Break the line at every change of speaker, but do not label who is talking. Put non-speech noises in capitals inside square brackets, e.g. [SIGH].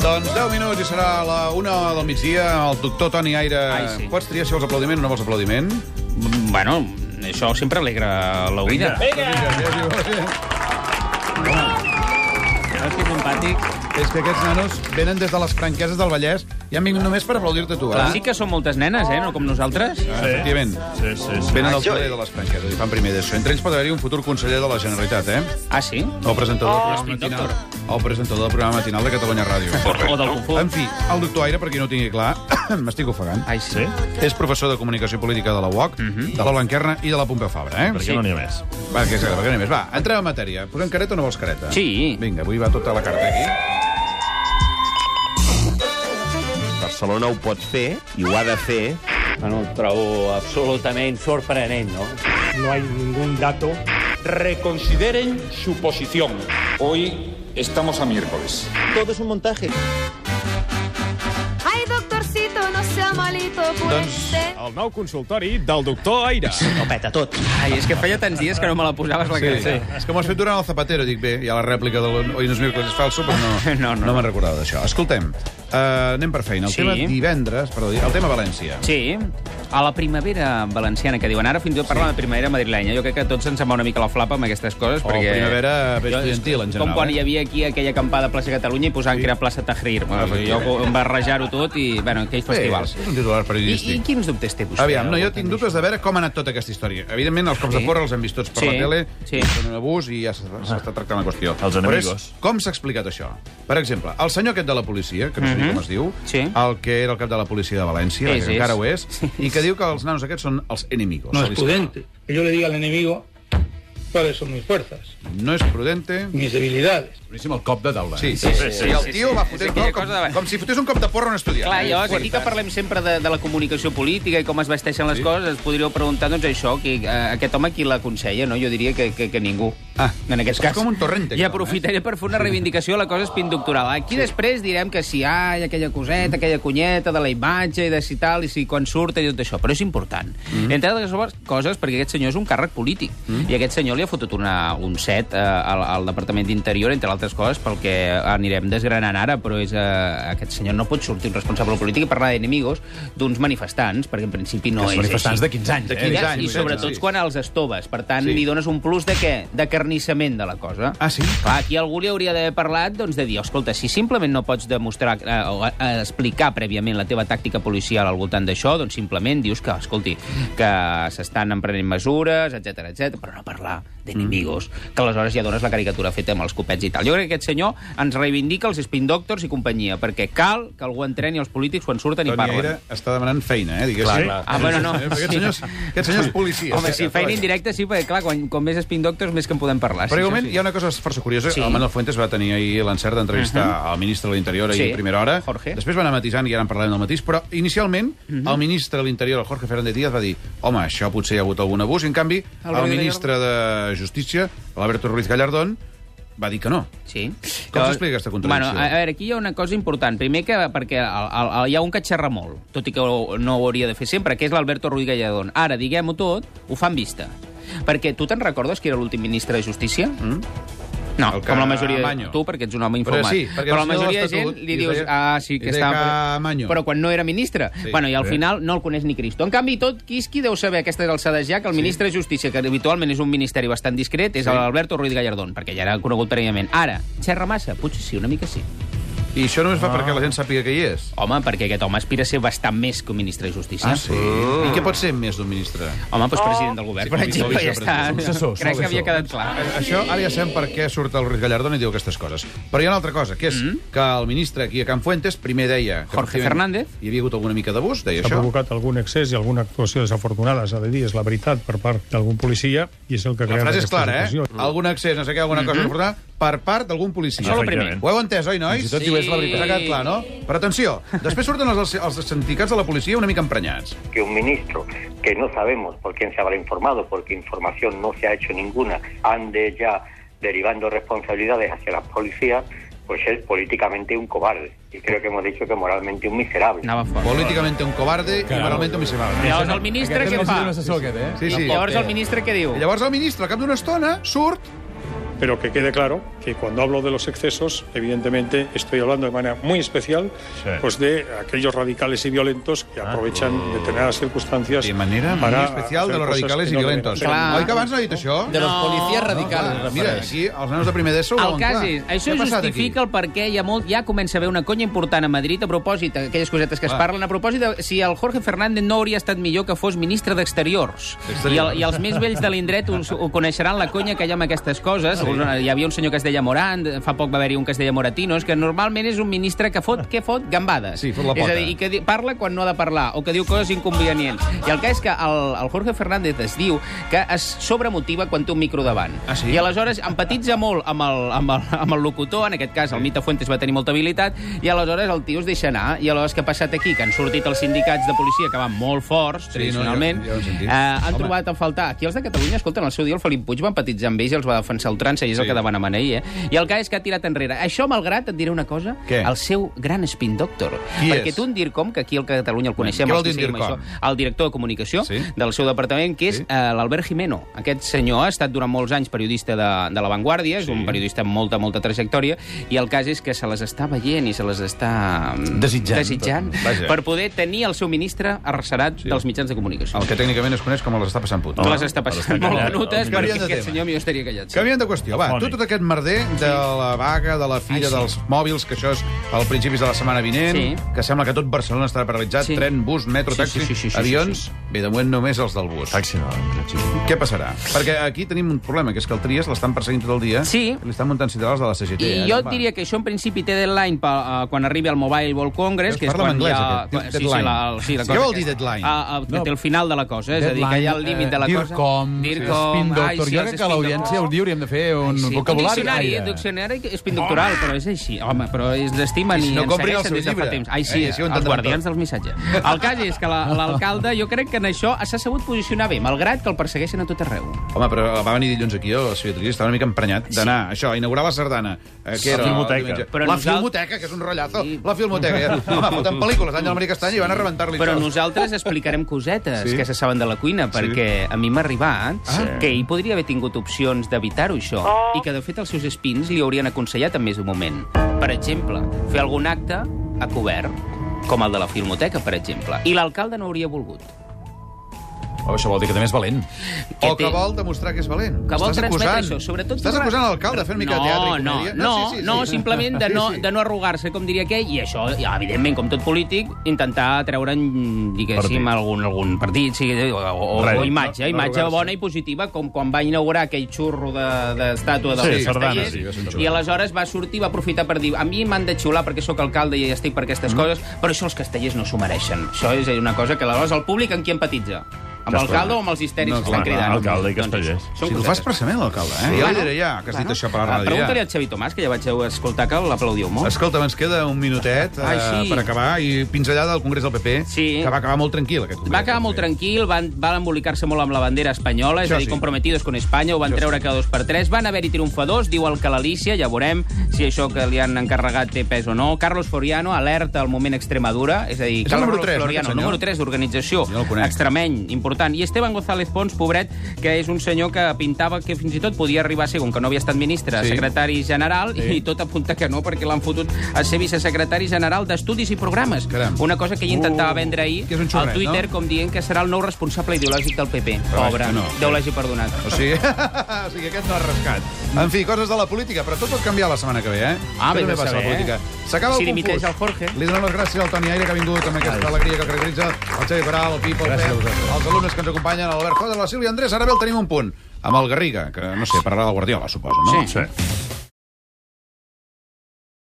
Doncs minuts i serà la una del migdia. El doctor Toni Aire...
Ai, sí.
Pots triar si vols aplaudiment o no vols aplaudiment?
Mm, Bueno, això sempre alegra la oïda. Veus que simpàtic?
És que aquests nanos venen des de les franqueses del Vallès i han vingut només per aplaudir-te tu, eh?
Sí que són moltes nenes, eh? No com nosaltres.
Ah, Efectivament.
Sí, sí, sí.
Venen al carrer de les franqueses i fan primer d'això. Entre ells pot haver-hi un futur conseller de la Generalitat, eh?
Ah, sí?
O presentador, del
Speed
programa matinal, o presentador del programa matinal de Catalunya Ràdio.
O del Kung Fu.
En fi, el doctor Aire, per qui no ho tingui clar, [COUGHS] m'estic ofegant,
Ai, sí.
Sí?
és professor de Comunicació Política de la UOC,
Mhm.
de la Blanquerna i de la Pompeu Fabra, eh?
Per
Sí.
què no n'hi ha més?
Va, que és greu, que anem més. Va, entrem en matèria. Posem careta o no vols careta?
Sí.
Vinga, avui va tota la carta aquí.
Barcelona ho pot fer i ho ha de fer.
Bueno, ho trobo absolutament sorprenent, no?
no hay ningún dato
Reconsideren su posición. Hoy estamos a miércoles.
Tot és un montatge.
Ay, doctorcito, no sea malito, pues.
Doncs
El nou consultori del doctor Aire.
Ho peta tot.
Ai, és que feia tants dies que no me la posaves la
Sí.
careta.
És que m'ho has fet durant el Zapatero, dic bé, hi ha la rèplica de l'Oi no és miércoles és falso, però no,
[LAUGHS] No, no.
no me'n recordava d'això. Escoltem, uh, anem per feina. El
Sí.
tema divendres, perdó, el tema València.
Sí, a la primavera valenciana, que diuen ara, fins i tot parlen sí. de primavera madrilenya. Jo crec que a tots ens sembla una mica la flapa amb aquestes coses,
O
perquè...
primavera
Jo, és
estudiantil, en
Com
general,
quan
eh?
hi havia aquí aquella acampada a Plaça Catalunya i posaven sí. que era Plaça Tahrir. Bueno, jo
Efectivament.
em barrejar-ho tot i, bueno, aquells festivals.
és un titular
I,
periodístic.
I quins dubtes té vostè?
Aviam, no, jo tinc dubtes de veure com ha anat tota aquesta història. Evidentment, els cops
Sí.
de porra els hem vist tots per
Sí,
la tele,
sí. Ah.
i són un abús i ja s'ha- s'està tractant la qüestió.
Els
Però és
enemigos.
com s'ha explicat això? Per exemple, el senyor aquest de la policia, que no sé mm -hmm. com es diu,
Mhm. Sí.
el que era el cap de la policia de València,
És,
que encara
és.
ho és, i que diu que els nanos aquests són els enemigos.
No es prudente que yo le diga al enemigo cuáles son mis fuerzas,
No és prudente...
mis debilidades.
Boníssim el cop de taula.
Sí, sí, sí, sí,
sí,
i
sí,
el tio
sí.
va
És
fotent
aquella
cop, com,
cosa de-
com si fotés un cop de porra a un estudiant.
Clar,
Eh?
llavors, aquí que parlem sempre de, de la comunicació política i com es vesteixen les sí. coses, es podríeu preguntar, doncs, això, que, eh, aquest home qui l'aconsella, no? Jo diria que, que, que ningú.
Ah,
en aquest
és que és
cas.
com un torrente, aquest
I
home, eh?
aprofitaré per fer una reivindicació a la cosa espin doctoral. Aquí sí. després direm que si hi aquella coseta, aquella cunyeta de la imatge i de si tal, i si quan surt i tot això, però és important. Mm -hmm. Entre altres coses, perquè aquest senyor és un càrrec polític, mm -hmm. i aquest senyor li ha fotut una, un set eh, al, al Departament d'Interior, entre altres coses, pel que anirem desgranant ara, però és, eh, aquest senyor no pot sortir un responsable polític i parlar d'enemigos d'uns manifestants, perquè en principi no
No,
és
manifestants
així.
de 15 anys.
De
eh?
15
Exacte,
anys,
I
vull dir,
sobretot
sí.
quan els estoves. Per tant,
Sí.
sí. li dones un plus de què? De carnissament de la cosa.
Ah, sí?
Clar, aquí algú li hauria d'haver parlat doncs, de dir, escolta, si simplement no pots demostrar eh, o eh, explicar prèviament la teva tàctica policial al voltant d'això, doncs simplement dius que, escolti, que s'estan emprenent mesures, etc etc, però no parlar
Mm.
d'enemigos, que aleshores ja dones la caricatura feta amb els copets i tal. Jo crec que aquest senyor ens reivindica els spin doctors i companyia, perquè cal que algú entreni els polítics quan surten i
Toni
parlen.
Aire està demanant feina, eh, diguéssim.
Clar, clar.
Ah, bueno, no.
Eh, perquè Aquest senyor, és- aquest senyor és policia.
Home, sí, feina
Clar.
indirecta sí, perquè clar, quan, com més spin doctors, més que en podem parlar.
Però
sí,
igualment
això
hi ha una cosa força curiosa.
Sí. Mhm.
Sí. El Manuel Fuentes va tenir ahir l'encert d'entrevistar uh -huh. al ministre de l'Interior ahir
Sí.
a primera hora.
Jorge. Mhm.
Després van anar matisant i ara en parlarem del matís, però inicialment uh -huh. el ministre de l'Interior, el Jorge Fernández Díaz, va dir home, això potser hi ha hagut algun abús, i en canvi el,
Ruiz
el ministre de Justícia, l'Alberto Ruiz Gallardón, va dir que no.
Sí.
Com
Que-
s'explica aquesta contradicció?
Bueno, a, a veure, aquí hi ha una cosa important. Primer, que perquè el, el, el, hi ha un que xerra molt, tot i que ho- no ho hauria de fer sempre, que és l'Alberto Ruiz Galladón. Ara, diguem-ho tot, ho fan vista. Perquè tu te'n recordes qui era l'últim ministre de Justícia? Mm? No,
El que-
com la majoria de...
Amaño.
Tu, perquè ets un home
Però
informat.
sí, perquè
però
el
la
senyor
majoria
de
de gent
l'Estatut li
li dius...
deia-
ah, sí,
li
que
deia que
estava...
Amaño.
Però quan no era ministre.
Sí.
bueno, i al
Sí.
final no el coneix ni Cristo. En canvi, tot Quisqui deu saber a aquestes alçades ja que el ministre de Justícia, que habitualment és un ministeri bastant discret, és sí. l'Alberto Ruiz Gallardón, perquè ja era conegut prèviament. Ara, xerra massa? Potser sí, una mica sí.
I això només fa
Ah.
perquè la gent sàpiga que hi és.
Home, perquè aquest home aspira a ser bastant més que un ministre de
Ah,
Justícia.
I què pot ser més d'un ministre?
Home, doncs president del govern,
Sí,
per
com
exemple, ja està.
vicepresident.
Successor,
Crec que
successor.
havia quedat clar.
Això ara ja sabem per què surt el Ruiz Gallardón i diu aquestes coses. Però hi ha una altra cosa, que és mm -hmm. que el ministre aquí a Can Fuentes primer deia... Que
Jorge
efectivament,
Fernández.
Hi havia hagut alguna mica d'abús, deia
S'ha
això.
provocat algun excés i alguna actuació desafortunada, s'ha de dir, és la veritat, per part d'algun policia, i és el que ha
La
creat
frase és
aquesta
clara, eh?
situació. Mm.
Algun accés, no sé què, alguna cosa important, per part d'algun policia.
Això és el primer.
Efectivament.
Ho heu entès, oi, nois?
Fins i tot diu, és la veritat.
Us ha quedat clar, no? Però atenció, després surten els, els sindicats de la policia una mica emprenyats.
Que un ministro, que no sabemos por quién se habrá informado, porque información no se ha hecho ninguna, ande ya derivando responsabilidades hacia las policías, pues es políticamente un cobarde. Y creo que hemos dicho que moralmente un miserable.
Anava fort.
Políticamente un cobarde i moralmente un miserable.
Llavors el ministre
Aquest
què
és
fa?
un assessor, aquest, eh?
Sí, sí.
Llavors el ministre què diu?
I Llavors el ministre, al cap d'una estona, surt
Pero que quede claro que cuando hablo de los excesos, evidentemente estoy hablando de manera muy especial
Sí. Ah.
pues de aquellos radicales y violentos que aprovechan determinadas circunstancias.
De manera muy
para
especial de
hacer
los
cosas
radicales i
que no
violentos.
deben-
Clar.
Oi que abans no he dit això?
De los policies
Clar,
radicals.
Mira, aquí els nanos de primer d'ESO ho
El
veuen
cas
clar.
és,
Què
això
ha passat
justifica
aquí?
el per què ja, molt, ja comença a haver una conya important a Madrid a propòsit, aquelles cosetes que es
Clar.
parlen, a propòsit de si el Jorge Fernández no hauria estat millor que fos ministre d'Exteriors. I, el,
D'Exteriors.
I els més vells de l'indret ho, ho coneixeran la conya que hi ha amb aquestes coses. Sí. Hi havia un senyor que es deia Morant, fa poc va haver-hi un que es deia Moratinos, que normalment és un ministre que fot, què fot? Gambades.
Sí, fot la
és
pota.
a dir, i que di- parla quan no ha de parlar, o que diu coses inconvenients. I el cas és que el, el Jorge Fernández es diu que es sobremotiva quan té un micro davant.
Ah, sí?
I a la aleshores empatitza molt amb el, amb, el, amb el locutor, en aquest cas el Mita Fuentes va tenir molta habilitat, i aleshores el tio es deixa anar, i aleshores que ha passat aquí, que han sortit els sindicats de policia, que van molt forts,
Sí,
tradicionalment,
no, ja- ja ho he sentit.
eh, han
Home.
trobat a faltar. Aquí els de Catalunya, escolten, el seu dia el Felip Puig va empatitzar amb ells i els va defensar ultrança, i és
Sí.
el que demanem ahir, eh? I el cas és que ha tirat enrere. Això, malgrat, et diré una cosa,
Què?
el seu gran spin doctor.
Qui
perquè
és?
tu, en Dircom, que aquí el que a Catalunya el coneixem,
Què vol
els que
dir en
seguim
Dircom?
això, el director de comunicació
Sí.
sí. del seu departament, que és
Sí.
sí. eh, l'Albert Jimeno. Aquest senyor ha estat durant molts anys periodista de, de La Vanguardia, és sí. un periodista amb molta, molta trajectòria, i el cas és que se les està veient i se les està... mm,
Desitjant.
desitjant
Vaja.
per poder tenir el seu ministre arrecerat sí. dels mitjans de comunicació.
El que tècnicament es coneix com les està passant puto.
Oh. Les està passant molt
Canviem
menutes,
de
perquè
tema.
aquest senyor millor estaria callat.
Canviem de qüestió, va. Tu, tot aquest merder de la vaga, de la fira
Ai, sí.
dels mòbils, que això és al principis de la setmana vinent,
Sí.
que sembla que tot Barcelona estarà paralitzat,
Sí.
tren, bus, metro,
Sí,
taxi,
sí, sí, sí, sí,
avions...
sí,
Bé, de moment només els del bus.
Taxi no, no.
Què passarà? Perquè aquí tenim un problema, que és que el Trias l'estan perseguint tot el dia.
Sí.
Li estan muntant ciutadans de la CGT.
I
eh,
jo
no
et
fa.
diria que això en principi té deadline pa, uh, quan arribi al Mobile World Congress,
Veus,
que és
parla
quan
en anglès,
hi ha...
aquest.
quan- Sí, sí,
Deadline.
la, el- sí, la
Què
cosa
vol dir
aquesta.
deadline?
Ah, ah, que té el final de la cosa, és a dir, que hi ha el límit de la cosa.
DIRCOM, Spin Doctor.
sí,
jo
els
crec que
spin
l'audiència
doctors.
un dia hauríem de fer un
Sí,
vocabulari.
diccionari,
aire.
un diccionari espinductoral, però és així. Home, però es
I
l'estimen
si
i
no
ens
comprin el
segueixen
seu
des de fa
llibre.
temps. Ai, sí,
Eh, així ho
els
entendran
guardians
tot.
del missatge. El cas és que la- l'alcalde, jo crec que en això s'ha sabut posicionar bé, malgrat que el persegueixen a tot arreu.
Home, però va venir dilluns aquí, el Sofia Trias estava una mica emprenyat d'anar, sí. això, a inaugurar la sardana. Eh, que era,
La filmoteca.
el diumenge.
Però
la
nosaltres-
filmoteca, que és un rotllazo.
Sí.
La filmoteca.
[LAUGHS]
Ja. Home, foten pel·lícules d'Àngel Maria Castanya i van a rebentar-li
Però
tot.
nosaltres explicarem cosetes
Sí.
sí. que se saben de la cuina, perquè a mi m'ha arribat ah. que ell podria haver tingut opcions d'evitar-ho, això, oh. i que, de fet, els seus espins li haurien aconsellat en més d'un moment. Per exemple, fer algun acte a cobert, com el de la Filmoteca, per exemple. I l'alcalde no hauria volgut.
Oh, això vol dir que també és valent.
O que vol demostrar que és valent.
que vol
Estàs
transmetre
acusant,
això. Sobretot
Estàs
torna-
acusant l'alcalde fent mica
no,
de teatre i
no,
comèdia.
no, no, sí, sí, no, simplement de no, de no arrugar-se, com diria aquell, i això, ja, evidentment, com tot polític, intentar treure'n, diguéssim,
Partit.
algun, algun partit, sí, o, o,
Res.
o imatge,
No- no
imatge
arrugar-se.
bona i positiva, com quan va inaugurar aquell xurro de- d'estàtua de,
Sí,
de sí,
sardana,
sí, va ser un xurro.
i aleshores va sortir, va aprofitar per dir a mi m'han de xiular perquè sóc alcalde i estic per aquestes
Mm-hmm.
mm. coses, però això els castellers no s'ho mereixen. Això és una cosa que aleshores el públic en qui empatitza? Amb
Ja està.
l'alcalde o amb els histeris
No,
que estan
clar,
cridant?
alcalde i
Doncs
castellers.
això. Són
Si tu
cosetes.
fas pressament, l'alcalde, eh? Ja li diré ja, que has dit això per la
Ah,
ràdio. ja.
Pregunta-li al Xavi Tomàs, que ja vaig escoltar que l'aplaudiu molt.
Escolta, ens queda un minutet eh,
Ai, sí.
per acabar i pinzellada al Congrés del PP,
Sí.
que va acabar molt tranquil aquest Congrés.
Va acabar molt tranquil, van, van embolicar-se molt amb la bandera espanyola, és
Això
a dir,
sí.
comprometidos con Espanya, ho van treure cada dos per tres, van haver-hi triomfadors, diu el Calalicia, ja veurem si això que li han encarregat té pes o no. Carlos Floriano, alerta al moment Extremadura, és a dir,
És el
Carlos
número tres, no,
Floriano,
aquest senyor?
número 3 d'organització
Jo no el conec.
extremeny, important. I Esteban González Pons, pobret, que és un senyor que pintava que fins i tot podia arribar a ser, com que no havia estat ministre,
Sí.
sí. secretari general, sí. i tot apunta que no, perquè l'han fotut a ser vicesecretari general d'Estudis i Programes.
Caram. Uh,
Una cosa que ell intentava vendre ahir
Que és un xurret,
al Twitter,
no?
com dient que serà el nou responsable ideològic del PP.
Però
Pobre,
vaja, no.
no. Déu l'hagi perdonat.
O sigui, [LAUGHS] o sigui, aquest no ha rascat. En fi, coses de la política, però tot pot canviar la setmana que ve, eh?
Ah,
Això
vés
també
a
passa a la
saber,
política. S'acaba
Si
el confús.
dimiteix el Jorge.
Li donem les gràcies al Toni Aire, que ha vingut amb aquesta alegria que caracteritza el Xavi Coral, el Pipo, el Pep, els alumnes que ens acompanyen, l'Albert Coda, la Sílvia Andrés. Ara bé el tenim un punt, amb el Garriga, que, no sé, parlarà del Guardiola, suposo, no?
Sí.
sí.